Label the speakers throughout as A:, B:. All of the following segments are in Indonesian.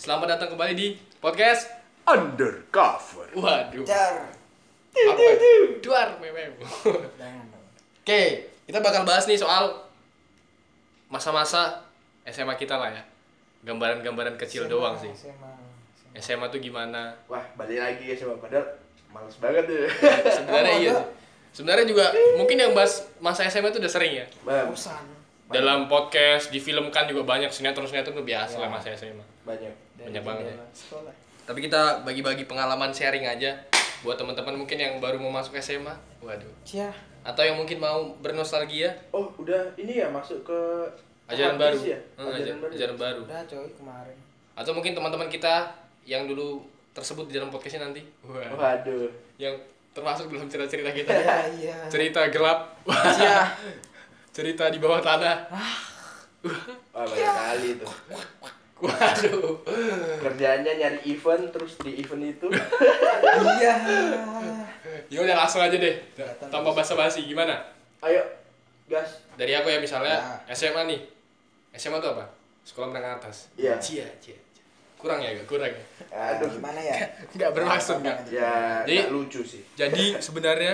A: kembali di podcast
B: Undercover.
A: Waduh
C: Jar.
A: Apa ya? Duar memem
C: Jangan dong.
A: Oke kita bakal bahas nih soal Masa-masa SMA kita lah ya Gambaran-gambaran kecil
C: SMA,
A: doang sih
C: SMA. SMA.
A: SMA tuh gimana
B: Wah, balik lagi ya sama padahal males banget ya.
A: Sebenarnya
C: Eh, Apa,
A: iya
C: Kak?
A: sih. Sebenarnya juga mungkin yang bahas masa SMA itu udah sering ya
B: Bang,
C: Bosan.
A: Dalam podcast, difilmkan juga banyak Sinetron-sinetron tuh biasa lah
C: Ya.
A: masa SMA
B: banyak.
C: Dari
A: Banyak banget ya.
C: jendela Sekolah.
A: Tapi kita bagi-bagi pengalaman sharing aja Buat teman-teman mungkin yang baru mau masuk SMA Waduh
C: Cia.
A: Atau yang mungkin mau bernostalgia
B: Oh, udah ini ya masuk ke
A: ajaran
B: Harddisk
A: baru,
B: Ya?
A: Heeh, ajaran, ajaran baru.
C: Udah coy kemarin.
A: Atau mungkin teman-teman kita yang dulu tersebut di dalam podcastnya nanti, Wah.
B: Waduh.
A: yang termasuk dalam cerita-cerita kita,
C: Ya iya.
A: cerita gelap,
C: Cia.
A: cerita di bawah tanah,
B: Wah,
A: Ya.
B: banyak kali itu.
A: waduh,
B: Kerjaannya nyari event terus di event itu
C: Iya.
A: ya udah langsung aja deh,
C: Datang
A: tanpa basa-basi gimana?
B: ayo gas.
A: Dari aku ya misalnya SMA nih, SMA tuh apa? Sekolah menengah atas.
B: Iya.
A: Cia, cia, cia. Kurang ya, gak kurang ya.
B: Aduh.
C: Aduh gimana ya?
A: Nggak bermaksud nggak.
B: Ya,
A: Jadi-
B: nggak lucu sih.
A: Jadi sebenarnya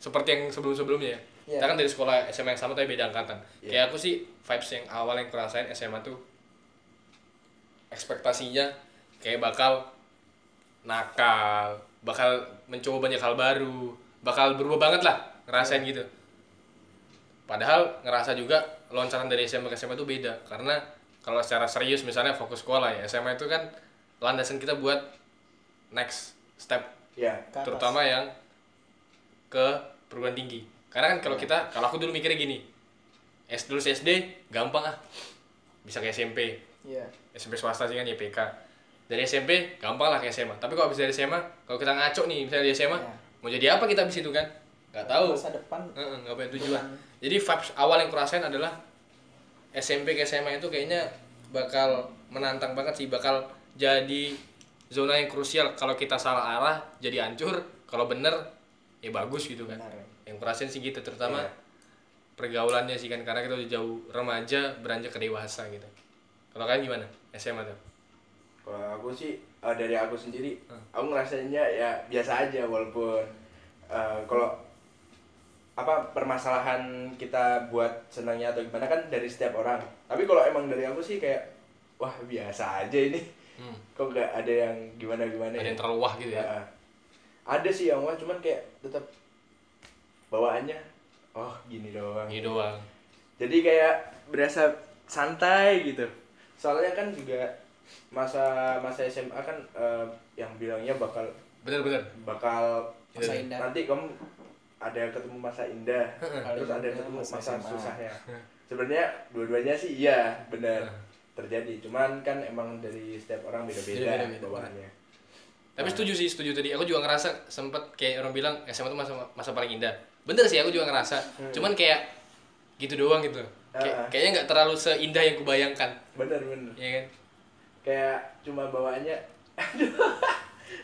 A: seperti yang sebelum-sebelumnya ya.
C: Iya.
A: Kita kan dari sekolah SMA yang sama tapi beda angkatan.
B: Iya.
A: Kayak aku sih vibes yang awal yang kurasain SMA tuh ekspektasinya kayak bakal nakal, bakal mencoba banyak hal baru, bakal berubah banget lah ngerasain gitu. Padahal ngerasa juga loncaran dari SMA ke SMA itu beda karena kalau secara serius misalnya fokus sekolah ya SMA itu kan landasan kita buat next step
B: Ya.
C: Ke atas.
A: terutama yang ke perguruan tinggi karena kan kalau
C: Iya.
A: kita kalau aku dulu mikirnya gini S dulu SD gampang ah bisa ke SMP
C: Iya.
A: SMP swasta sih kan YPK dari SMP gampang lah ke SMA tapi kalau bisa dari SMA kalau kita ngaco nih misalnya dari SMA
C: Iya.
A: mau jadi apa kita abis itu kan nggak tahu
C: Masa depan.
A: Heeh, nggak punya tujuan jadi vibes awal yang kurasain adalah SMP ke SMA itu kayaknya bakal menantang banget sih bakal jadi zona yang krusial kalau kita salah arah jadi hancur kalau bener ya bagus gitu kan
C: Benar.
A: yang kurasain sih gitu terutama
B: Iya.
A: pergaulannya sih kan karena kita udah jauh remaja beranjak ke dewasa gitu kalau kalian gimana SMA tuh
B: Kalau aku sih eh, dari aku sendiri,
A: Hmm.
B: aku ngerasainnya ya biasa aja walaupun eh, kalau apa permasalahan kita buat senangnya atau gimana kan dari setiap orang. Tapi kalau emang dari aku sih kayak wah biasa aja ini.
A: Hmm.
B: Kok nggak ada yang gimana gimana?
A: ada yang terlalu wah gitu
B: Iya.
A: ya
B: Ada sih yang wah, cuman kayak tetap bawaannya oh gini doang.
A: ini doang
B: Jadi kayak berasa santai gitu. Soalnya kan juga masa masa SMA kan eh, yang bilangnya bakal
A: bener-bener
B: bakal eh,
C: Masa
A: Iya.
C: indah.
B: nanti kamu ada ketemu masa indah, terus ada
C: Indah,
B: ketemu
C: masa
B: masa
C: SMA.
B: susahnya. Sebenarnya dua-duanya sih iya benar terjadi. Cuman kan emang dari setiap orang beda-beda
A: Beda-beda, beda.
B: bawaannya.
A: Tapi
C: Nah.
A: setuju sih, setuju tadi. Aku juga ngerasa sempet kayak orang bilang SMA itu masa masa paling indah. Bener sih, aku juga ngerasa.
C: Hmm.
A: Cuman kayak gitu doang gitu. Kayak-
B: Ah, ah.
A: Kayaknya nggak terlalu seindah yang kubayangkan,
B: Bener-bener.
A: ya kan?
B: kayak cuma bawaannya aduh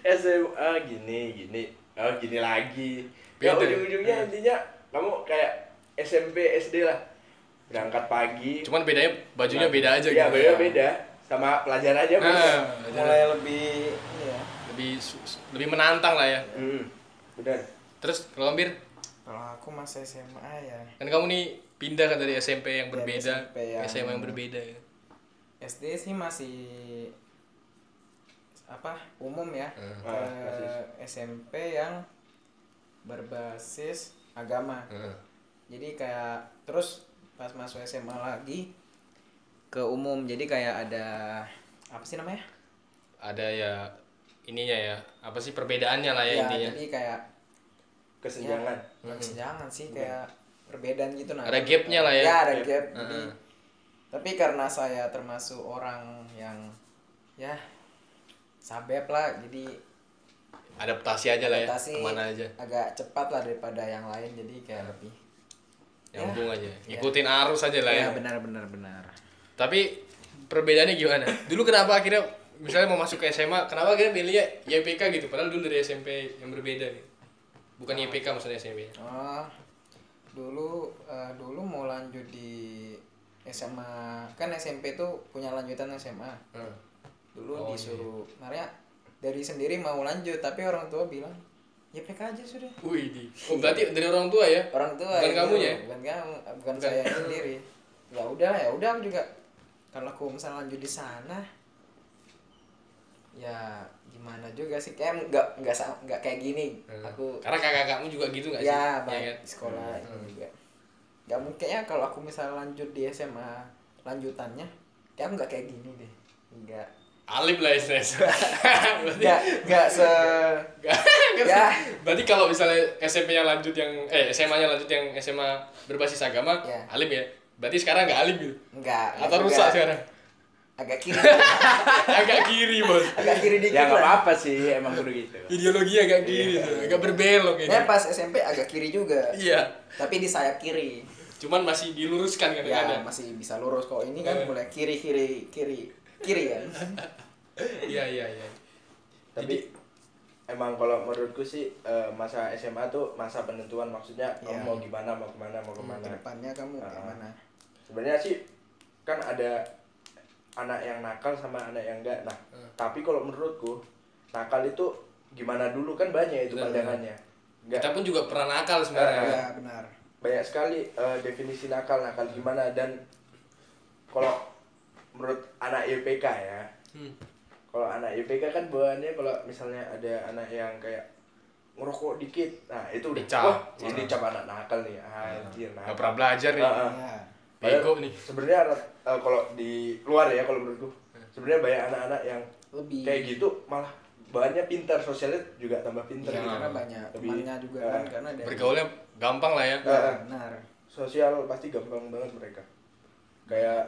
B: SMA gini gini oh gini lagi
A: Beda.
B: ya
A: Iya.
B: ujung-ujungnya intinya kamu kayak SMP SD lah berangkat pagi
A: Cuman bedanya bajunya
C: Nah.
A: beda
C: Iya,
A: aja
B: ya
A: gitu.
B: beda beda sama pelajarannya
A: Ah,
B: beda
A: belajar.
C: Mulai lebih ini ya.
A: lebih su- su- lebih menantang lah ya.
B: hmm, benar
A: Terus kalau Ambir,
C: Kalau aku masa SMA ya.
A: kan kamu nih pindah kan dari SMP yang
C: Dari
A: berbeda,
C: SMP yang-
A: SMA yang berbeda ya.
C: SD sih masih apa umum ya
A: Hmm.
C: Ke
B: Ah, basis.
C: SMP yang berbasis agama
A: Heeh.
C: jadi kayak terus pas masuk SMA lagi ke umum jadi kayak ada apa sih namanya
A: Ada ya ininya ya. Apa sih perbedaannya lah ya, intinya?
C: Iya, jadi kayak ya,
B: kesenjangan
C: jangan sih kayak perbedaan gitu nah
A: Iya. Ada gapnya lah ya.
C: ya ada gap
A: Heeh.
C: jadi tapi karena saya termasuk orang yang ya sabep lah jadi
A: Adaptasi aja lah ya.
C: adaptasi
A: Kemana aja.
C: agak cepat lah daripada yang lain jadi kayak lebih
A: nyambung Ya aja ikutin arus aja lah ya
C: ya benar benar benar
A: tapi perbedaannya gimana dulu kenapa akhirnya misalnya mau masuk ke SMA kenapa akhirnya milihnya YPK gitu padahal dulu dari SMP yang berbeda gitu bukan YPK maksudnya SMP -nya.
C: oh dulu eh, dulu mau lanjut di SMA kan SMP tuh punya lanjutan SMA
A: Hmm.
C: dulu
A: Oh, iya.
C: disuruh makanya dari sendiri mau lanjut tapi orang tua bilang ya PK aja sudah
A: Wih, di. Oh, berarti dari orang tua ya?
C: orang tua
A: Bukan
C: itu,
A: kamunya?
C: bukan kamu eh,
A: Bukan.
C: bukan, saya sendiri ya udah ya udah aku juga kalau aku misalnya lanjut di sana ya gimana juga sih kayak nggak nggak sa- nggak kayak gini
A: Hmm.
C: aku
A: Karena kakak-kakakmu juga gitu nggak sih?
C: ya
A: Iya
C: baik
A: kan?
C: di sekolah
A: Hmm.
C: itu juga nggak mungkin ya kalau aku misalnya lanjut di SMA lanjutannya kayak aku nggak kayak gini deh nggak
A: Alim lah istilahnya. berarti
C: nggak nggak se
A: Nggak.
C: Ya.
A: Berarti kalau misalnya SMP-nya lanjut yang eh SMA-nya lanjut yang SMA berbasis agama,
C: Ya.
A: alim ya. Berarti sekarang nggak alim gitu.
C: nggak
A: Atau
C: nggak
A: rusak
C: juga.
A: sekarang.
C: agak kiri
A: Agak kiri, Bos.
C: agak kiri dikit
B: ya nggak
C: lah.
B: apa-apa sih emang kudu gitu
A: Ideologinya agak kiri, tuh. agak berbelok ini.
C: Ya pas SMP agak kiri juga.
A: Iya.
C: Tapi di sayap kiri.
A: Cuman masih diluruskan kan
C: Ya
A: kadang
C: masih bisa lurus kalau ini kan mulai kiri kiri kiri kiri kan.
A: Iya, iya, iya.
B: tapi emang kalau menurutku sih eh, masa SMA tuh masa penentuan maksudnya kamu
C: Iya.
B: mau gimana mau kemana mau kemana
C: Kedepannya kamu
B: Ah.
C: gimana?
B: sebenarnya sih kan ada anak yang nakal sama anak yang enggak nah
A: Hmm.
B: tapi kalau menurutku nakal itu gimana dulu kan banyak itu
A: Benar,
B: pandangannya enggak
A: Kita pun juga pernah nakal sebenarnya.
C: Ya benar.
B: banyak sekali eh, definisi nakal nakal
A: Hmm.
B: gimana dan kalau menurut anak IPK ya
A: Hmm.
B: kalau anak IPK kan bawaannya kalau misalnya ada anak yang kayak ngerokok dikit nah itu udah
A: Dicap.
B: wah
A: Hmm.
B: ini cap anak nakal nih Ah, anjir
A: Nggak
B: nakal
A: pernah belajar nih.
B: Ah, ah.
C: Ya.
A: Bego
B: Padahal
A: nih.
B: sebenarnya anak- eh, kalau di luar ya kalau menurutku
A: Iya.
B: sebenarnya banyak anak-anak yang
C: Lebih
B: kayak gitu malah bahannya pintar sosialnya juga tambah pintar
C: Ya,
B: gitu.
C: karena banyak
B: Lebih-
C: temannya juga kan
B: Ah.
C: karena ada.
A: Bergaulnya gampang lah ya.
B: Ah, ah.
C: Benar.
B: sosial pasti gampang banget mereka kayak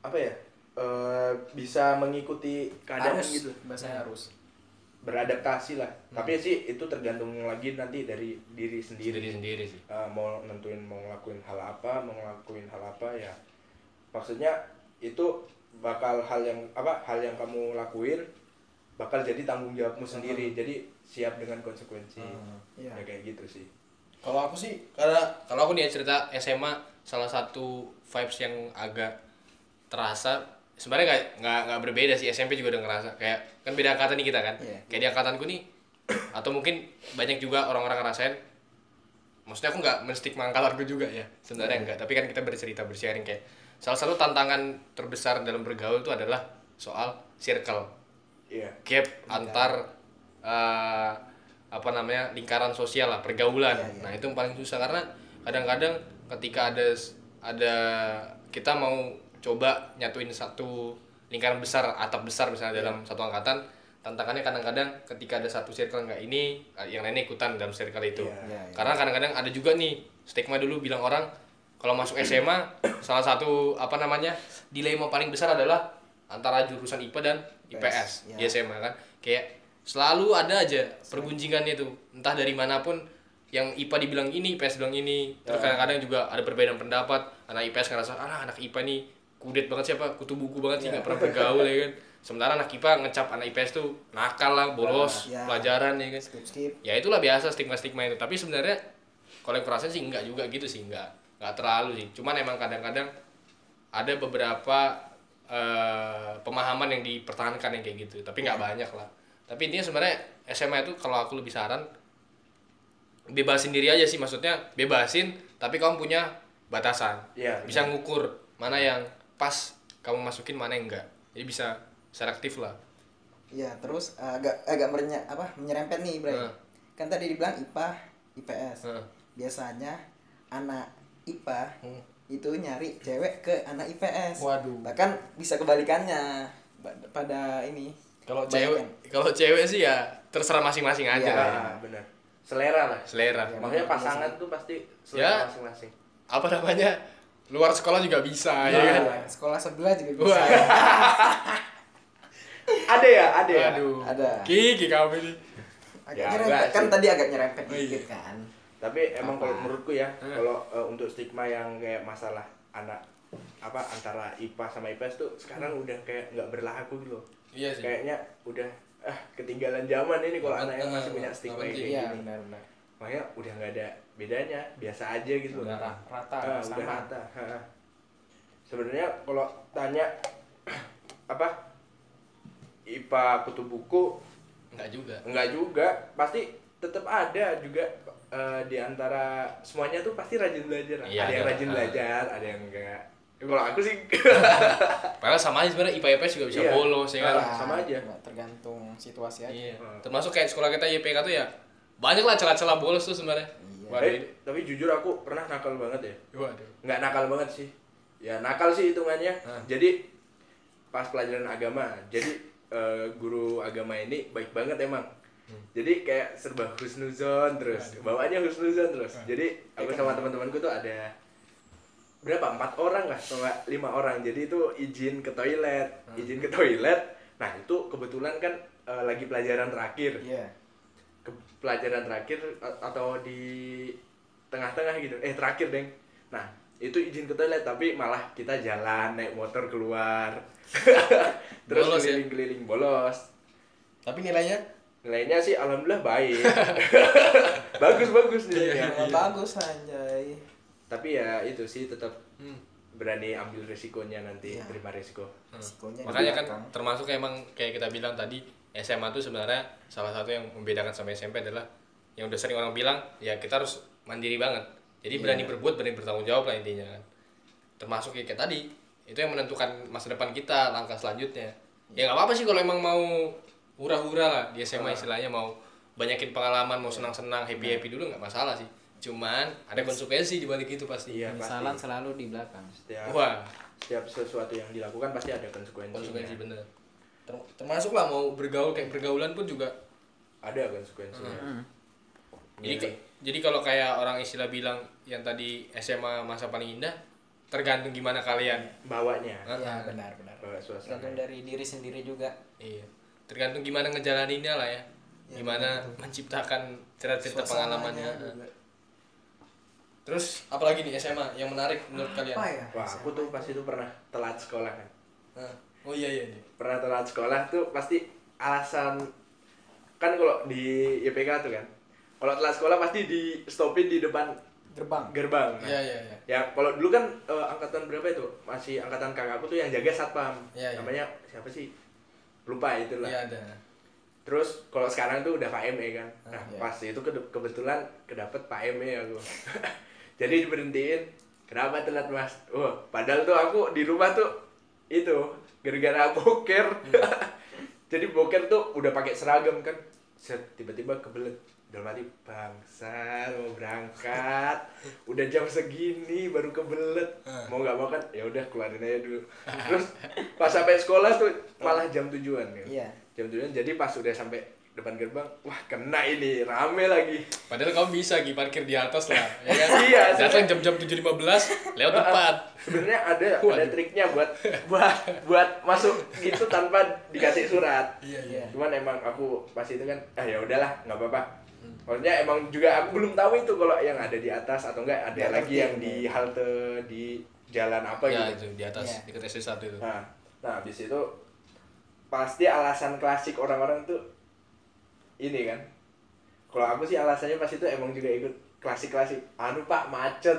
B: apa ya eh, bisa mengikuti keadaan
C: Harus Iya. Hmm.
B: gitu
C: bahasanya harus.
B: beradaptasi lah tapi sih itu tergantung lagi nanti dari diri sendiri
A: Diri sendiri sih.
B: Eh, mau nentuin mau ngelakuin hal apa mau ngelakuin hal apa ya maksudnya itu bakal hal yang apa hal yang kamu lakuin bakal jadi tanggung jawabmu sendiri jadi siap dengan konsekuensi
C: Iya.
B: ya kayak gitu sih
A: Kalau aku sih karena kalau aku nih ya cerita SMA salah satu vibes yang agak terasa sebenarnya nggak nggak nggak berbeda sih SMP juga udah ngerasa kayak kan beda angkatan nih kita kan
C: Iya.
A: kayak di angkatanku nih atau mungkin banyak juga orang-orang ngerasain maksudnya aku nggak menstigma angkatanku juga ya sebenarnya enggak tapi kan kita bercerita bersharing kayak salah satu tantangan terbesar dalam bergaul itu adalah soal circle
B: iya
A: gap antar eh, apa namanya lingkaran sosial lah pergaulan
C: Iya,
A: nah itu yang paling susah karena kadang-kadang ketika ada s- ada kita mau coba nyatuin satu lingkaran besar atap besar
C: Iya.
A: misalnya dalam satu angkatan tantangannya kadang-kadang ketika ada satu circle nggak ini eh, yang lainnya ikutan dalam circle itu
C: Iya, iya.
A: karena kadang-kadang ada juga nih stigma dulu bilang orang kalau masuk SMA salah satu apa namanya dilema paling besar adalah antara jurusan IPA dan IPS
C: IPS,
A: di SMA kan kayak selalu ada aja pergunjingannya tuh entah dari manapun yang IPA dibilang ini IPS bilang ini terus kadang-kadang juga ada perbedaan pendapat anak IPS ngerasa ah anak IPA nih kudet banget siapa kutu buku banget sih nggak pernah bergaul ya kan sementara anak IPA ngecap anak IPS tuh nakal lah bolos
C: Ya.
A: pelajaran ya kan
C: Skip skip.
A: ya itulah biasa stigma-stigma itu tapi sebenarnya kalau yang kurasain sih enggak juga gitu sih enggak enggak terlalu sih cuman emang kadang-kadang ada beberapa eh, pemahaman yang dipertahankan yang kayak gitu tapi nggak banyak lah tapi intinya sebenarnya SMA itu kalau aku lebih saran bebasin diri aja sih maksudnya bebasin tapi kamu punya batasan
B: Iya,
A: bisa ngukur mana yang pas kamu masukin mana yang enggak jadi bisa selektif lah
C: Ya terus agak agak merenya apa menyerempet nih Bray.
A: Heeh.
C: Kan tadi dibilang IPA, IPS.
A: Heeh.
C: Biasanya anak IPA
A: Hmm.
C: itu nyari cewek ke anak IPS.
A: Waduh.
C: Bahkan bisa kebalikannya Ba- pada ini.
A: kalau cewek
C: Kebalikan.
A: kalau cewek sih ya terserah masing-masing aja
C: Iya.
A: lah ya.
B: Ah, benar selera lah
A: selera
C: Iya.
B: makanya pasangan tuh pasti selera
A: Ya.
B: masing-masing
A: apa namanya luar sekolah juga bisa ya kan
C: Nah, Sekolah sebelah juga bisa.
A: Wah.
B: ada ya ada ya
A: aduh
C: Ada.
A: kiki kamu ini
C: Agak
B: Ya,
C: nyerempet.
B: enggak
C: Kan
B: sih.
C: tadi agak nyerempet
A: Oh, iya.
C: dikit kan.
B: tapi emang
C: Apa?
B: kalau menurutku ya kalau eh, untuk stigma yang kayak masalah anak apa antara IPA sama IPS tuh sekarang udah kayak nggak berlaku gitu loh.
A: iya sih
B: kayaknya udah ah ketinggalan zaman ini kalau
A: Nggak
B: anak yang
A: penting,
B: masih punya
A: nggak
B: stigma kayak
A: penting.
B: gini
C: Iya benar-benar.
B: makanya udah nggak ada bedanya biasa aja gitu
A: Udah ra-
C: rata,
B: Ah,
C: sama.
B: udah rata Ha, ha. sebenarnya kalau tanya apa IPA kutu buku
A: Enggak juga.
B: enggak juga pasti tetap ada juga eh, di antara semuanya tuh pasti rajin belajar
A: Iya,
B: ada yang
A: ada.
B: rajin
A: Ah.
B: belajar ada yang enggak Ya, kalau aku sih
A: Padahal sama aja sebenarnya IPA IPS juga bisa
B: Iya.
A: bolos ya kan.
B: Ah. sama aja.
C: Tergantung situasi aja.
A: Iya.
B: Hmm.
A: Termasuk kayak sekolah kita YPK tuh ya banyak lah celah-celah bolos tuh sebenarnya.
C: Iya.
A: Waduh.
B: Eh, tapi jujur aku pernah nakal banget ya
A: Waduh.
B: nggak nakal banget sih ya nakal sih hitungannya
A: Hah.
B: jadi pas pelajaran agama jadi eh, guru agama ini baik banget emang jadi kayak serba husnuzon terus bawaannya husnuzon terus jadi aku sama teman-temanku tuh ada berapa empat orang lah sama lima orang jadi itu izin ke toilet izin ke toilet nah itu kebetulan kan eh, lagi pelajaran terakhir
C: Iya.
B: ke pelajaran terakhir a- atau di tengah-tengah gitu eh terakhir deng nah itu izin ke toilet tapi malah kita jalan naik motor keluar terus
A: Bolos ya?
B: keliling-keliling bolos
C: Tapi nilainya
B: nilainya sih alhamdulillah baik bagus bagus
A: Iya,
C: ya,
B: nilainya
C: bagus anjay.
B: tapi ya itu sih tetap
A: Hmm.
B: berani ambil risikonya nanti
C: Iya.
B: terima risiko
C: Risikonya di
A: Makanya kan
C: belakang.
A: termasuk emang kayak kita bilang tadi SMA tuh sebenarnya salah satu yang membedakan sama SMP adalah yang udah sering orang bilang ya kita harus mandiri banget. Jadi berani berbuat, berani bertanggung jawab lah intinya kan. Termasuk ya kayak tadi itu yang menentukan masa depan kita, langkah selanjutnya. Ya nggak apa-apa sih kalau emang mau hura-hura lah di SMA istilahnya mau banyakin pengalaman, mau senang-senang, happy-happy dulu nggak masalah sih. Cuman ada konsepensi di balik itu pasti.
B: iya
C: Penyesalan
B: pasti
C: selalu di belakang.
B: setiap,
A: Wah,
B: setiap sesuatu yang dilakukan pasti ada konsekuensinya
A: konsekuensi bener Ter- termasuk lah mau bergaul kayak pergaulan pun juga
B: ada konsekuensinya
C: Hmm.
A: jadi
B: Iya,
A: ke- jadi kalau kayak orang istilah bilang yang tadi SMA masa paling indah tergantung gimana kalian
B: bawanya
C: Iya, benar benar.
B: bawa suasana
C: Tergantung dari diri sendiri juga.
A: iya tergantung gimana ngejalaninnya lah ya gimana menciptakan cerita-cerita pengalamannya
C: iya,
A: terus apalagi nih SMA yang menarik menurut kalian
C: Apa ya?
B: Wah, aku tuh pas itu pernah telat sekolah kan.
A: Hah? oh iya iya iya.
B: Pernah telat sekolah tuh pasti alasan kan kalau di YPK tuh kan. Kalau telat sekolah pasti di stopin di depan
C: Gerbang.
B: gerbang. Nah,
A: iya iya iya
B: Ya, kalau dulu kan eh, angkatan berapa itu? Masih angkatan kakakku tuh yang jaga satpam.
A: Iya, iya.
B: Namanya siapa sih? Lupa itulah.
A: iya ada
B: Terus kalau sekarang tuh udah Pak ME kan. Nah,
C: iya.
B: pas itu kede- kebetulan kedapet Pak ME aku. Jadi diberhentiin, kenapa telat Mas? Oh, padahal tuh aku di rumah tuh itu gara-gara boker.
C: Hmm.
B: Jadi boker tuh udah pakai seragam kan. Set, tiba-tiba kebelet. Dalam hati bangsa mau berangkat, udah jam segini baru kebelet.
C: Ah.
B: Mau nggak mau kan ya udah keluarin aja dulu. Terus pas sampai sekolah tuh malah jam tujuan ya
C: Iya.
B: jam tujuan jadi pas udah sampai depan gerbang wah kena ini rame lagi
A: Padahal kamu bisa Gi, parkir di atas lah, ya kan?
B: Iya,
A: Datang jam-jam 7.15, lewat depan.
B: sebenarnya ada ada triknya buat buat buat masuk gitu tanpa dikasih surat
A: Iya,
C: iya.
B: cuman emang aku pas itu kan ah ya udahlah nggak apa-apa
C: Hmm.
B: maksudnya emang juga aku belum tahu itu kalau yang ada di atas atau enggak ada
C: Nggak
B: lagi
C: ngerti,
B: yang di halte di jalan apa
A: Ya
B: gitu
A: itu di atas,
C: Iya.
A: dekat SD 1 itu.
B: nah nah habis itu pasti alasan klasik orang-orang tuh ini kan kalau aku sih alasannya pas itu emang juga ikut klasik-klasik anu pak macet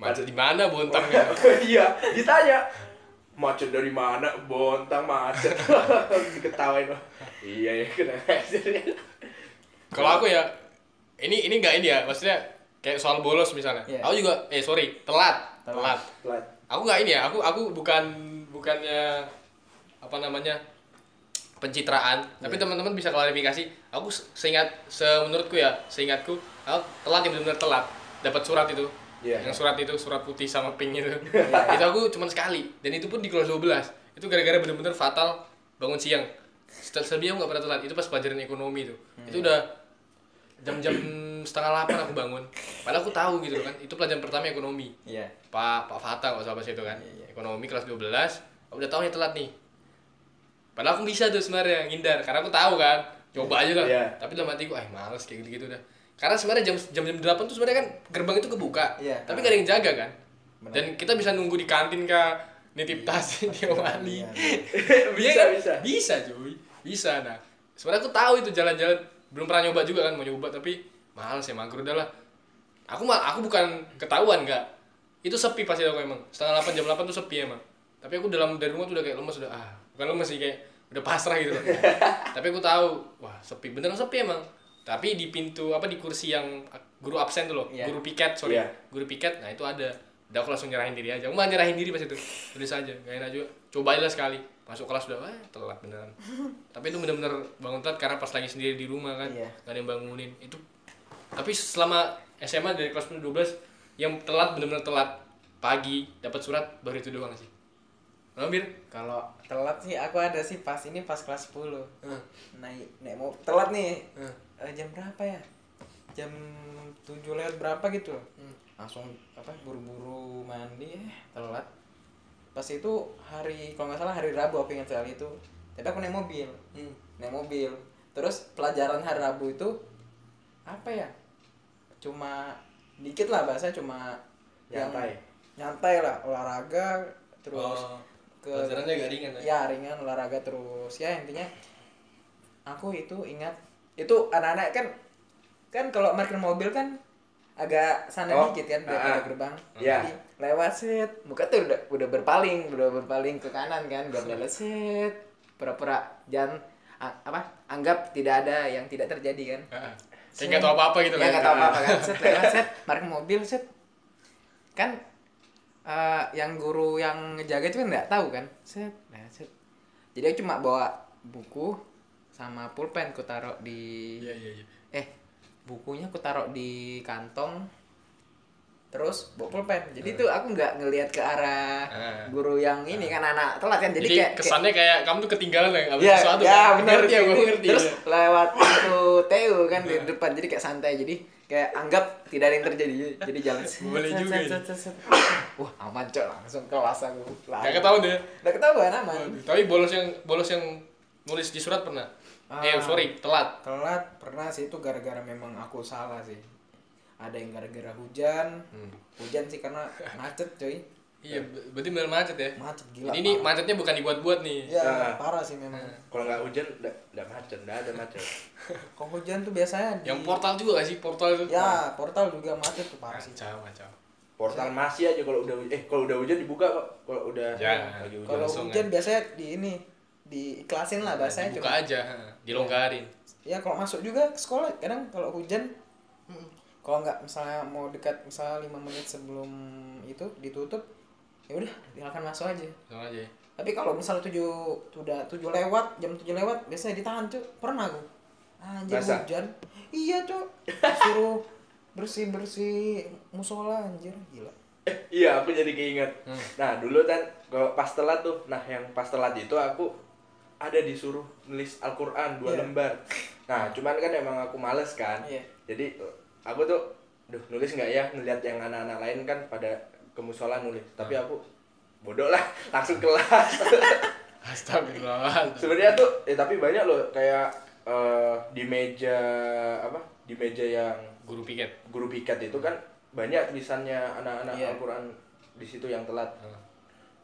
A: Macet di mana bontang ya?
B: iya ditanya macet dari mana bontang macet diketawain iya ya kenapa
A: Kalau aku ya ini ini nggak ini ya, maksudnya kayak soal bolos misalnya.
C: Iya.
A: Aku juga eh sorry telat, telat.
C: Telat.
B: Telat.
A: Aku nggak ini ya, aku aku bukan bukannya apa namanya pencitraan. Tapi teman-teman bisa klarifikasi. Aku se- seingat se menurutku ya, seingatku aku telat yang benar-benar telat. Dapat surat itu.
B: Iya.
A: Yang surat itu surat putih sama pink itu. itu aku cuman sekali dan itu pun di kelas 12. Itu gara-gara bener-bener fatal bangun siang. Setel- Selebihnya aku nggak pernah telat. Itu pas pelajaran ekonomi itu. Itu udah jam-jam setengah delapan aku bangun padahal aku tahu gitu loh kan itu pelajaran pertama ekonomi
C: Iya.
A: pak pak Fata kalau sahabat itu kan
C: Iya, iya.
A: ekonomi kelas 12 aku udah tahu nih telat nih padahal aku bisa tuh sebenarnya ngindar karena aku tahu kan coba aja lah
B: Iya.
A: tapi dalam hatiku ah males kayak gitu gitu udah karena sebenarnya jam jam jam delapan tuh sebenarnya kan gerbang itu kebuka
C: Iya.
A: tapi gak ada yang jaga kan
C: Benar.
A: dan kita bisa nunggu di kantin kak nitip tas di wali
C: Iya,
A: Iya
B: Bisa,
A: kan?
B: bisa.
A: bisa cuy bisa nah sebenarnya aku tahu itu jalan-jalan belum pernah nyoba juga kan mau nyoba tapi mahal sih mager udah lah aku mal aku bukan ketahuan nggak itu sepi pasti aku emang setengah delapan jam delapan tuh sepi emang tapi aku dalam dari rumah tuh udah kayak lemes udah ah bukan lemes sih kayak udah pasrah gitu loh. tapi aku tahu wah sepi beneran sepi emang tapi di pintu apa di kursi yang guru absen tuh loh
C: Iya.
A: guru piket sorry
B: Iya.
A: guru piket nah itu ada udah aku langsung nyerahin diri aja aku mah nyerahin diri pas itu tulis aja gak enak juga cobain lah sekali masuk kelas udah wah telat beneran tapi itu bener-bener bangun telat karena pas lagi sendiri di rumah kan
C: Iya.
A: gak ada yang bangunin itu tapi selama SMA dari kelas 10 12 yang telat bener-bener telat pagi dapat surat baru itu doang sih Lambir
C: Kalau telat sih aku ada sih pas ini pas kelas 10. Naik naik mau telat nih. Eh, jam berapa ya? Jam 7 lewat berapa gitu. Langsung apa buru-buru mandi eh, telat. Pas itu hari kalau nggak salah hari Rabu aku ingat sekali itu. Tapi aku naik mobil. Naik mobil. Terus pelajaran hari Rabu itu apa ya? Cuma dikit lah bahasa cuma yang-
B: Nyantai.
C: nyantai lah olahraga terus
A: Oh, pelajarannya agak ringan ya?
C: ya ringan olahraga terus ya intinya aku itu ingat itu anak-anak kan kan kalau parkir mobil kan agak sana
B: Oh,
C: dikit kan
B: ah,
C: daripada
B: ah.
C: gerbang
B: Iya.
C: Jadi, lewat set muka tuh udah, udah berpaling udah berpaling ke kanan kan biar lewat set pura-pura jangan a- apa anggap tidak ada yang tidak terjadi kan
A: Heeh. Kayak nggak tahu apa-apa gitu
C: ya
A: kan.
C: nggak tahu apa-apa kan set lewat set parkir mobil set kan eh, yang guru yang ngejaga itu kan nggak tahu kan set lewat set jadi aku cuma bawa buku sama pulpen ku taruh di
A: Iya iya iya.
C: eh bukunya aku taruh di kantong terus bawa pulpen
A: Eh.
C: jadi tuh aku nggak ngelihat ke arah
A: Ah.
C: guru yang ini kan anak telat kan jadi,
A: Jadi,
C: kayak kayak-
A: kesannya kayak kamu tuh ketinggalan ya, nggak
C: ya,
A: sesuatu.
C: ya
A: kan?
C: benar
A: Ngerti,
C: gitu.
A: aku ngerti. Iya.
C: terus
A: ya.
C: lewat pintu TU kan di depan jadi kayak santai jadi kayak anggap tidak ada yang terjadi jadi jalan set,
A: Boleh
C: set,
A: juga
C: set,
A: ya.
C: set, set, set. wah aman cok langsung kelas aku
A: nggak ketahuan deh.
C: udah ketahuan aman
A: Tapi bolos yang bolos yang nulis di surat pernah. Eh
C: Ah.
A: sorry, telat.
C: telat pernah sih itu gara-gara memang aku salah sih ada yang gara-gara hujan hujan sih karena macet coy
A: Iya, ber- berarti benar macet ya.
C: macet Eh. gila Iya. Ya,
A: Jadi ini Iya. macetnya bukan dibuat-buat nih.
B: Ah.
C: parah sih memang
B: Kalau nggak hujan, nggak nggak macet, nggak ada macet.
C: kalau hujan tuh biasanya di-
A: Yang portal juga nggak sih portal itu.
C: ya portal juga macet tuh parah sih
A: Kacau, kacau.
B: Portal masih aja kalau udah hujan- eh kalau udah hujan dibuka kok. Kalau udah
A: Ya,
B: lagi hujan.
C: Kalau
A: langsung Nah,
C: hujan biasanya di ini diiklasin lah bahasanya
A: Dibuka
C: cuma.
A: aja, heeh. dilonggarin.
C: Ya kalau masuk juga ke sekolah kadang kalau hujan kalau nggak misalnya mau dekat misalnya 5 menit sebelum itu ditutup ya udah silakan masuk aja.
A: Langsung aja. ya.
C: Tapi kalau misalnya 7 udah 7 lewat, jam 7 lewat biasanya ditahan, Cuk. Pernah aku. Anjir
B: Basah?
C: hujan. Iya, Cuk. Disuruh bersih-bersih musola anjir, gila.
B: Eh, iya, aku jadi keinget. Nah, dulu kan kalau pas telat tuh, nah yang pas telat itu aku ada disuruh nulis Al-Qur'an dua
C: Iya.
B: lembar. Nah, cuman kan emang aku males kan.
C: Iya.
B: Jadi eh, aku tuh duh nulis nggak ya ngeliat yang anak-anak lain kan pada ke musola nulis. Tapi aku bodoh lah, langsung kelas.
A: Astagfirullah.
B: sebenarnya tuh eh tapi banyak loh kayak eh, di meja apa di meja yang
A: Guru piket.
B: guru piket itu kan banyak tulisannya anak-anak
C: Iya.
B: Al-Qur'an di situ yang telat.
A: Heeh.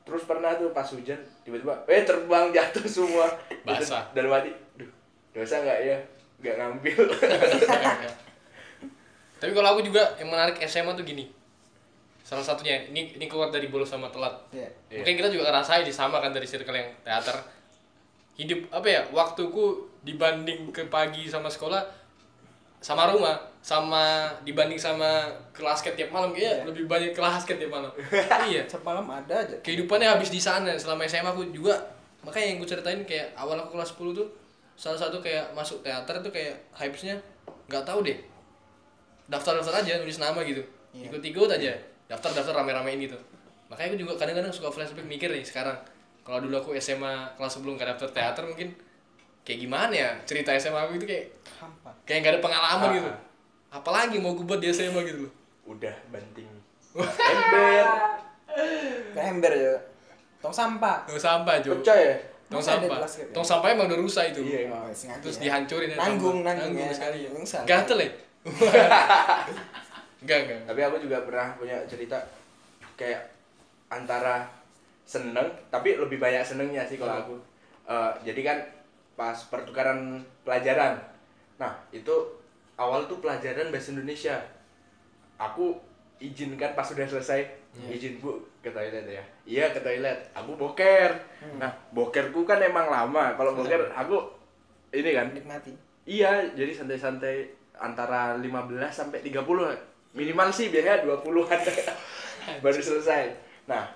B: Terus pernah tuh pas hujan tiba-tiba eh terbang jatuh semua.
A: Basah.
B: Dan mati. Duh, dosa nggak ya? Nggak ngambil.
A: Tapi kalau aku juga yang menarik SMA tuh gini. Salah satunya ini ini keluar dari bolos sama telat.
C: Iya.
A: Mungkin kita juga ngerasain sih, sama kan dari circle yang teater. Hidup apa ya? Waktuku dibanding ke pagi sama sekolah sama rumah sama dibanding sama kelas basket tiap malam kayaknya lebih banyak kelas basket tiap malam. iya
C: Semalam ada aja.
A: kehidupannya habis di sana selama SMA aku juga makanya yang gue ceritain kayak awal aku kelas 10 tuh salah satu kayak masuk teater tuh kayak hypesnya nggak tahu deh daftar-daftar aja nulis nama gitu
C: Iya.
A: ikut-ikut aja daftar-daftar rame-ramein gitu makanya aku juga kadang-kadang suka flashback mikir nih sekarang kalau dulu aku SMA kelas sebelum nggak daftar teater mungkin kayak gimana ya cerita SMA aku itu kayak
C: Hampa.
A: kayak nggak ada pengalaman
B: Ah.
A: gitu apalagi mau gue buat di SMA gitu loh
B: Udah banting ember.
C: Ke ember ya. Tong sampah.
A: tong sampah Jo
B: Pecah ya?
A: tong
C: Masa ada
A: sampah
C: basket ya?
A: tong sampah emang udah rusak itu
B: Iya.
C: Oh, sengaja
A: terus
C: ya.
A: dihancurin ya,
C: Nanggung,
A: tambah.
C: nanggung, ya.
A: sekali ya
C: Nanggung sekali.
A: gatel ya enggak enggak
B: Tapi aku juga pernah punya cerita kayak antara seneng, tapi lebih banyak senengnya sih kalau aku. Eh, jadi kan pas pertukaran pelajaran, nah itu awal tuh pelajaran bahasa Indonesia. Aku izinkan pas sudah selesai izin bu ke toilet ya iya ke toilet aku boker nah bokerku kan emang lama kalau boker aku ini kan
C: menikmati
A: Nah.
B: Iya, jadi santai-santai antara 15 sampai 30 lah. minimal sih biasanya 20-an baru selesai. Nah,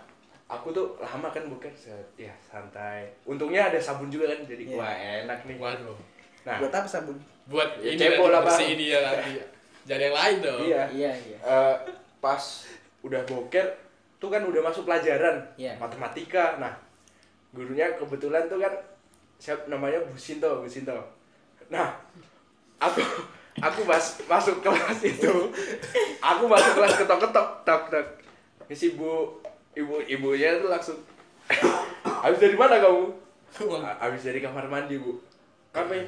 B: aku tuh lama kan bukan ya santai. Untungnya ada sabun juga kan jadi
C: Iya.
B: gua enak nih.
A: Waduh.
B: Nah,
C: buat apa sabun
A: Buat
B: Ya,
A: ini
B: kepo lah,
A: lah
B: Bang.
A: bersih dia lagi. Jangan yang lain dong.
B: iya.
C: iya iya
B: Eh, pas udah boker tuh kan udah masuk pelajaran
C: Iya.
B: matematika. Nah, gurunya kebetulan tuh kan siap namanya Bu Sinto, Bu Sinto. Nah, aku aku mas, masuk kelas itu. Aku masuk kelas ketok-ketok tok tok. Si Bu ibu ibunya tuh langsung Habis dari mana kamu? "A- Habis dari kamar mandi, Bu. Kami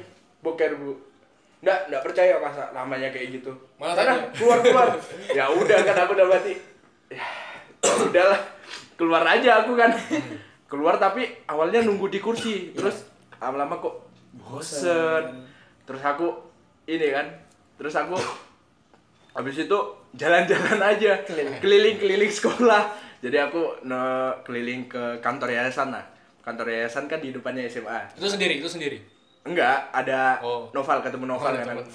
B: boker, Bu. Nggak, nggak percaya masa namanya kayak gitu.
A: Malah
B: Sana,
A: tanya.
B: keluar keluar. ya udah kan aku udah mati. Ya, udahlah. Keluar aja aku kan. Keluar tapi awalnya nunggu di kursi. Terus lama-lama kok bosen. Terus aku ini kan. Terus aku habis itu jalan-jalan aja keliling-keliling sekolah jadi aku ne keliling ke kantor yayasan lah kantor yayasan kan di depannya SMA
A: Itu sendiri, itu sendiri.
B: enggak ada
A: Oh.
B: Noval ketemu Noval
A: Oh,
B: kan
A: ketemu.
B: aku.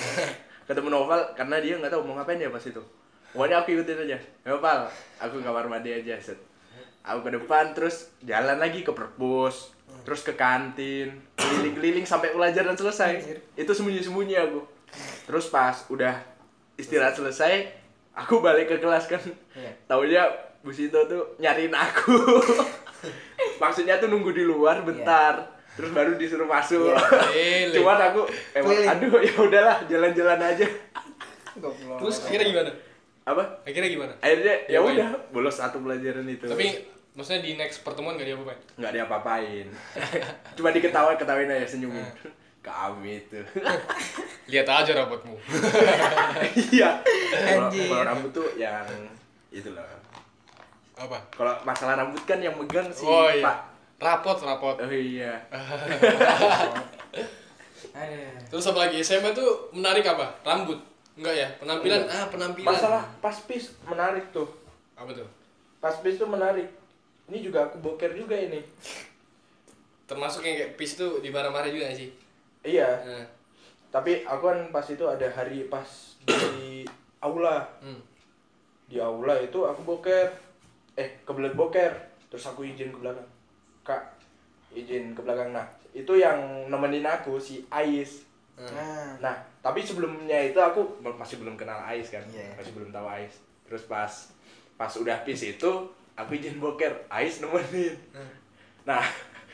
B: ketemu Noval karena dia nggak tahu mau ngapain ya pas itu pokoknya aku ikutin aja Ya, Noval aku ke kamar mandi aja set aku ke depan terus jalan lagi ke perpus terus ke kantin keliling-keliling sampai pelajaran selesai
C: Anjir.
B: itu sembunyi-sembunyi aku terus pas udah istirahat selesai aku balik ke kelas kan
C: Iya.
B: taunya Bu Sinto tuh nyariin aku maksudnya tuh nunggu di luar bentar
C: Iya.
B: terus baru disuruh masuk
A: Iya.
B: cuman aku emang
C: Keliling.
B: aduh ya udahlah jalan-jalan aja
C: Goblok.
A: Terus akhirnya gimana?
B: apa
A: Akhirnya gimana?
B: akhirnya ya
A: Diapain?
B: udah bolos satu pelajaran itu
A: Tapi maksudnya di next pertemuan gak dia apa
B: nggak ada apa-apain cuma diketawa ketawain aja senyumin
A: Hmm.
B: kami tuh
A: Lihat aja rambutmu.
B: iya kalau
C: Anjir.
B: kalau rambut tuh yang itulah
A: apa?
B: kalau masalah rambut kan yang megang sih
A: oh Ah. iya.
B: pak
A: Rapot, rapot.
B: oh iya
C: Aduh.
A: Terus apa lagi? SMA tuh menarik apa? Rambut. Enggak ya? Penampilan. Ah, penampilan.
B: masalah paspis menarik tuh
A: apa tuh?
B: paspis tuh menarik ini juga aku boker juga ini
A: Termasuk yang kayak pis tuh dimarah-marah juga nggak sih.
B: iya
A: Nah,
B: tapi aku kan pas itu ada hari pas di aula
A: hmm.
B: di aula itu aku boker eh kebelet boker terus aku izin ke belakang kak izin ke belakang nah itu yang nemenin aku si Ais
C: Nah,
B: nah tapi sebelumnya itu aku be- masih belum kenal Ais kan
C: Iya.
B: masih belum tahu Ais terus pas pas udah pis itu aku izin boker Ais nemenin
C: Hmm.
B: nah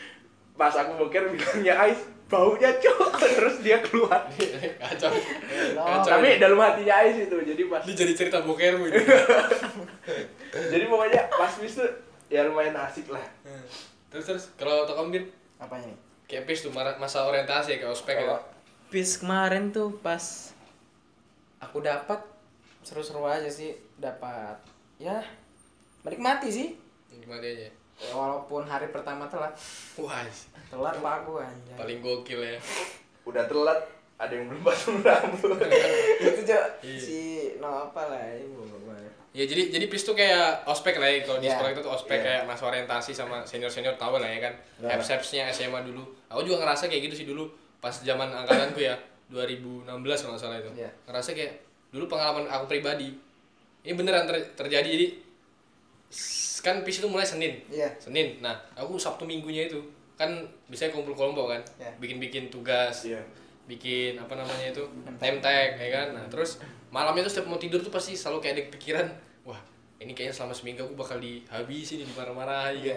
B: pas aku boker bilangnya Ais baunya cok terus dia keluar
A: Kacau. Kacau.
B: tapi dalam hatinya Ais itu jadi pas
A: Ini jadi cerita bokermu ini.
B: jadi pokoknya pas pis tuh ya lumayan asik lah
A: terus terus kalau untuk kamu Bir,
C: apa ini?
A: kayak pis tuh mara- masa orientasi kayak ospek ya.
B: Kalau-
C: Pis kemarin tuh pas aku dapat seru-seru aja sih dapat ya menikmati sih
A: Gimana dia aja.
C: Ya, walaupun hari pertama telat
A: Wah, sih.
C: telat pak aku anjay
A: paling gokil ya.
B: udah telat ada yang belum pasang rambut
C: itu cok
A: Iya.
C: si no apa lah ibu gue
A: Ya jadi jadi PIS tuh kayak ospek lah ya kalau di
C: Iya.
A: sekolah itu tuh ospek
B: Iya.
A: kayak masa orientasi sama senior-senior tahu lah ya kan.
C: Iya.
A: Apps-appsnya SMA dulu. Aku juga ngerasa kayak gitu sih dulu pas zaman angkatanku ya 2016 kalau nggak salah itu.
C: Iya.
A: Ngerasa kayak dulu pengalaman aku pribadi. Ini beneran ter- terjadi jadi s- kan PIS itu mulai Senin.
C: Iya.
A: Senin. Nah, aku Sabtu Minggunya itu kan biasanya kumpul kelompok kan.
C: Iya.
A: Bikin-bikin tugas.
B: Iya.
A: Bikin apa namanya itu? Name tag ya kan. Nah, terus malamnya tuh setiap mau tidur tuh pasti selalu kayak ada pikiran, wah, ini kayaknya selama seminggu aku bakal dihabisin, dimarah-marahin kan.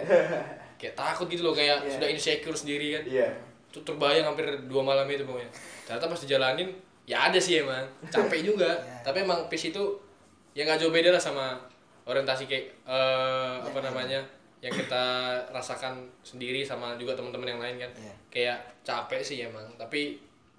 A: kayak takut gitu loh kayak
C: Iya.
A: sudah insecure sendiri kan.
B: iya
A: Itu terbayang hampir dua malam itu pokoknya. Ternyata pas dijalanin ya ada sih emang, capek juga.
C: Iya.
A: Tapi emang PIS itu ya nggak jauh beda lah sama orientasi kayak eh, apa
C: Iya.
A: namanya yang kita rasakan sendiri sama juga teman-teman yang lain kan.
C: Iya.
A: Kayak capek sih emang, tapi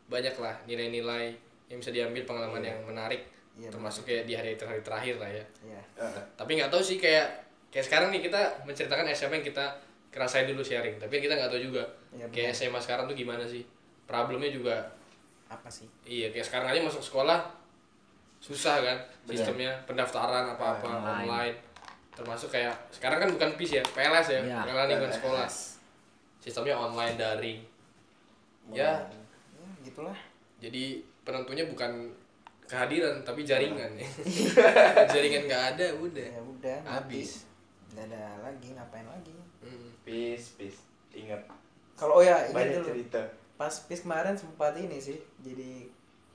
A: banyak lah nilai-nilai yang bisa diambil pengalaman yang menarik
C: Iya,
A: termasuk kayak di hari hari terakhir lah ya.
C: ya
B: Eh,
A: Tapi nggak tahu sih kayak kayak sekarang nih kita menceritakan SMA yang kita kerasain dulu sharing, tapi kita nggak tahu juga
C: Iya,
A: kayak SMA sekarang tuh gimana sih. Problemnya juga
C: apa sih
A: iya kayak sekarang aja masuk sekolah susah kan sistemnya pendaftaran apa-apa
D: Online.
A: online. termasuk kayak sekarang kan bukan PIS ya PLS ya
D: Iya,
A: pengelolaan lingkungan
B: PLS.
A: sekolah sistemnya online daring ya
C: ya gitulah
A: jadi penentunya bukan kehadiran tapi jaringan ya jaringan nggak ada udah
C: ya udah
A: Habis.
C: nggak ada lagi ngapain lagi
A: Mm.
B: Peace, peace. Ingat
C: kalau oh ya ini
B: banyak
C: dulu
B: cerita.
C: pas pis kemarin sempat ini sih jadi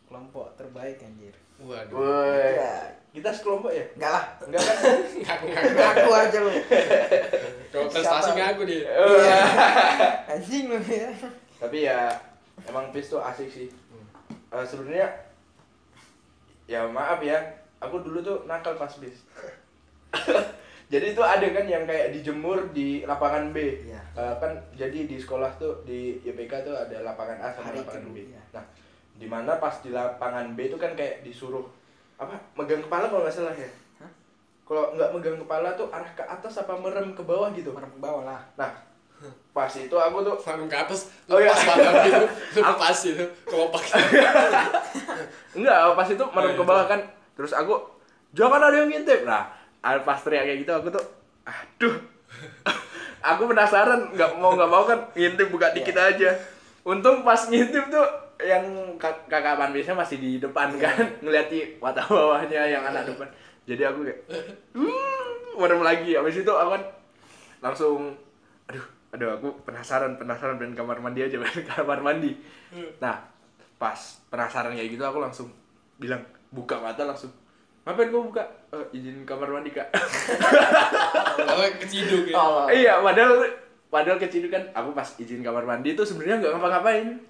C: kelompok terbaik anjir
A: waduh
B: Woi.
C: Ya.
B: Kita sekelompok ya?
C: enggak lah
B: Enggak kan?
A: ngaku
C: aku aja
B: Oh.
C: lu
A: kalau prestasi
C: Siapa?
A: ngaku dia
C: Iya. anjing lu ya
B: Tapi ya emang peace tuh asik sih.
C: Hmm.
B: Eh, sebenarnya ya maaf ya, aku dulu tuh nakal pas peace. jadi itu ada kan yang kayak dijemur di lapangan B.
C: Iya.
B: Eh, kan jadi di sekolah tuh di YPK tuh ada lapangan A sama
C: Hari
B: lapangan B.
C: kedua, iya.
B: Nah, di mana pas di lapangan B itu kan kayak disuruh apa megang kepala kalau nggak salah ya.
C: Hah?
B: Kalau nggak megang kepala tuh arah ke atas apa merem ke bawah gitu.
C: merem ke bawah lah
B: Nah, pas itu aku tuh
A: Bangun ke atas,
B: Oh, iya.
A: lepas badan gitu, lepas itu, kelopak gitu.
B: Enggak, pas itu
A: Oh,
B: merem
A: iya,
B: ke bawah kan. Terus aku, jangan ada yang ngintip. Nah, al- pas teriak kayak gitu aku tuh, aduh. aku penasaran, nggak mau nggak mau kan ngintip buka dikit
A: Iya.
B: aja. Untung pas ngintip tuh yang kak- kakak panbisnya masih di depan
A: Iya.
B: kan, ngeliat di mata bawahnya yang anak depan. Jadi aku kayak, hmm, merem lagi. Habis itu aku kan langsung, aduh, aduh aku penasaran, penasaran pengen kamar mandi aja, pengen kamar mandi.
A: Iya.
B: Nah, pas penasaran kayak gitu aku langsung bilang buka mata langsung ngapain kamu buka "Eh, izin kamar mandi kak
A: Kalau keciduk ya.
B: iya padahal padahal kecil kan aku pas izin kamar mandi itu sebenarnya nggak ngapa-ngapain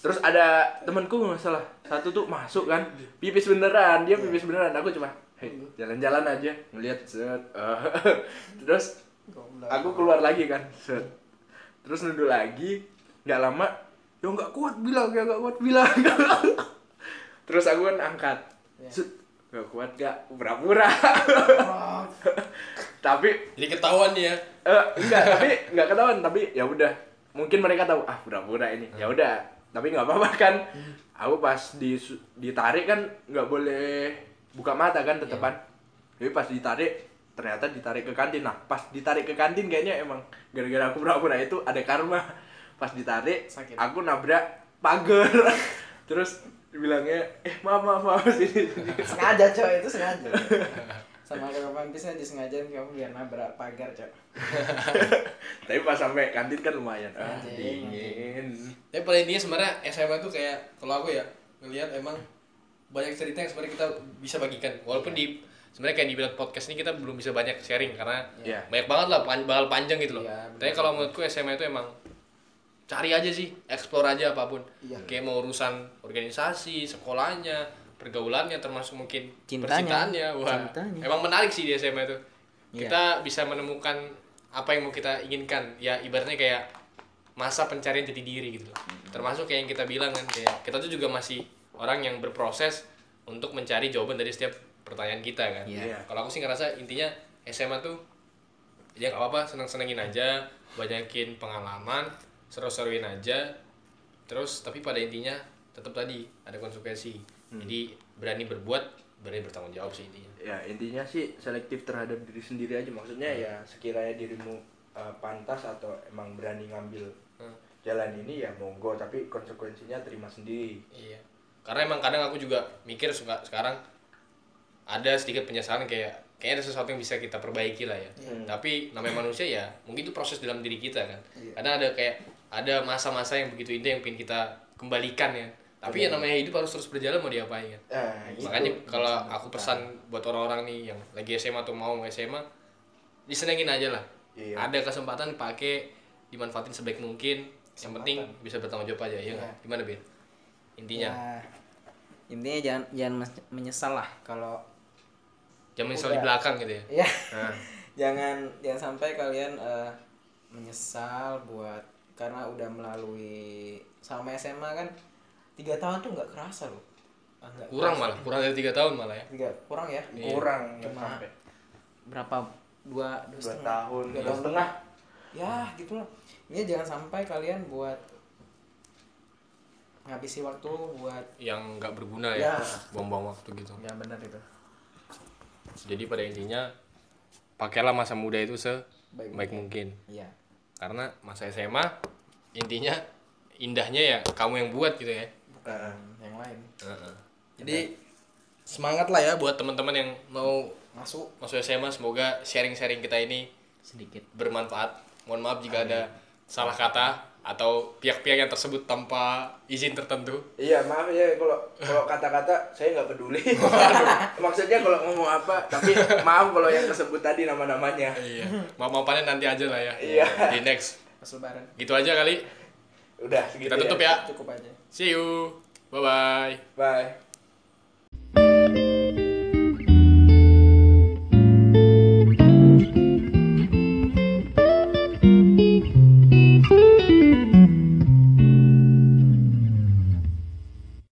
B: terus ada temanku nggak salah satu tuh masuk kan pipis beneran dia pipis beneran aku cuma "Hei, jalan-jalan aja ngeliat set eh. terus
C: goblok
B: aku keluar lagi kan set terus nunduk lagi nggak lama ya nggak kuat bilang ya nggak kuat bilang terus aku kan angkat
C: Ya.
B: set nggak kuat nggak pura-pura tapi
A: Jadi ketahuan ya, dia.
B: eh, enggak tapi nggak ketahuan tapi ya udah mungkin mereka tahu ah pura-pura ini
C: Hmm.
B: ya udah tapi nggak apa-apa kan aku pas disu- ditarik kan nggak boleh buka mata kan
C: Iya.
B: tetepan jadi pas ditarik ternyata ditarik ke kantin nah pas ditarik ke kantin kayaknya emang gara-gara aku pura-pura itu ada karma pas ditarik
C: Sakit.
B: aku nabrak pagar terus bilangnya eh maaf maaf maaf sini, sini.
C: sengaja coy itu sengaja sama kakak pampisnya disengajain kamu biar nabrak pagar coy
B: tapi pas sampai kantin kan lumayan ah,
C: Anjing,
B: dingin
A: Tapi pada intinya sebenarnya SMA tuh kayak kalau aku ya ngelihat emang banyak cerita yang sebenarnya kita bisa bagikan. Walaupun di sebenarnya kayak dibilang podcast ini kita belum bisa banyak sharing karena
B: Iya.
A: banyak banget lah pan- bakal panjang gitu loh.
C: Iya, benar.
A: Tapi kalau menurutku SMA itu emang cari aja sih, explore aja apapun.
C: Iya.
A: Kayak mau urusan organisasi, sekolahnya, pergaulannya termasuk mungkin
D: Cintanya.
A: percintaannya. Wah,
D: Cintanya.
A: emang menarik sih di SMA itu.
D: Hmm. Iya.
A: Kita bisa menemukan apa yang mau kita inginkan. Ya ibaratnya kayak masa pencarian jati diri gitu loh.
D: Hmm.
A: Termasuk kayak yang kita bilang kan kayak kita tuh juga masih orang yang berproses untuk mencari jawaban dari setiap pertanyaan kita kan.
D: Iya.
A: Kalau aku sih ngerasa intinya SMA tuh ya nggak apa-apa seneng-senengin aja banyakin pengalaman seru-seruin aja terus tapi pada intinya tetap tadi ada konsekuensi
D: Hmm.
A: jadi berani berbuat berani bertanggung jawab sih intinya
B: ya intinya sih selektif terhadap diri sendiri aja maksudnya ya
A: Hmm.
B: sekiranya dirimu eh, pantas atau emang berani ngambil
A: Hmm.
B: jalan ini ya monggo tapi konsekuensinya terima sendiri
A: iya karena emang kadang aku juga mikir suka sekarang ada sedikit penyesalan kayak kayaknya ada sesuatu yang bisa kita perbaiki lah ya tapi namanya manusia ya mungkin itu proses dalam diri kita kan kadang ada kayak ada masa-masa yang begitu indah yang pengen kita kembalikan ya tapi ya namanya hidup harus terus berjalan mau diapain kan
B: nah, itu.
A: Makanya kalau
B: iya,
A: aku pesan buat orang-orang nih yang lagi SMA atau mau SMA, disenengin aja lah.
B: Iya.
A: Ada kesempatan dipaake, dimanfaatin sebaik mungkin. Yang penting bisa bertanggung jawab aja, ya nggak? Gimana, Bin?
B: Iya.
A: Intinya,
C: ya
D: Intinya jangan jangan mes- menyesal lah
C: kalau
A: jangan menyesal di belakang gitu ya.
C: ya jangan jangan sampai kalian eh, menyesal buat karena udah melalui sama SMA kan tiga tahun tuh nggak kerasa loh Ah, nggak
A: Kurang malah, kurang dari tiga tahun malah ya.
C: tiga kurang ya
B: kurang nggak
C: Cuma-
B: sampai
D: berapa
C: dua dua
B: dua
C: setengah
B: tahun
C: Dua
B: dua tahun setengah
C: ya gitu loh ini jangan sampai kalian buat ngabisi waktu buat
A: yang nggak berguna ya,
C: Ya.
A: buang-buang waktu gitu.
C: ya benar itu
A: Jadi pada intinya pakailah masa muda itu sebaik
C: Baik
A: mungkin.
C: iya
B: Ah.
A: Karena masa SMA intinya indahnya ya kamu yang buat gitu ya.
C: bukan yang lain
A: Jadi semangat lah ya buat teman-teman yang mau
C: masuk
A: masuk SMA semoga sharing-sharing kita ini
D: sedikit
A: bermanfaat. Mohon maaf jika ada salah kata atau pihak-pihak yang tersebut tanpa izin tertentu.
B: Iya maaf ya kalau kalau kata-kata saya nggak peduli. Maksudnya kalau ngomong apa, tapi maaf kalau yang tersebut tadi nama-namanya.
A: Iya. Maaf-maafannya nanti aja lah ya.
B: Iya.
A: Di next.
C: pas lebaran
A: Gitu aja kali.
B: Udah segitu. Ah.
A: Kita tutup ya.
C: cukup aja
A: See you. Bye bye.
B: Bye.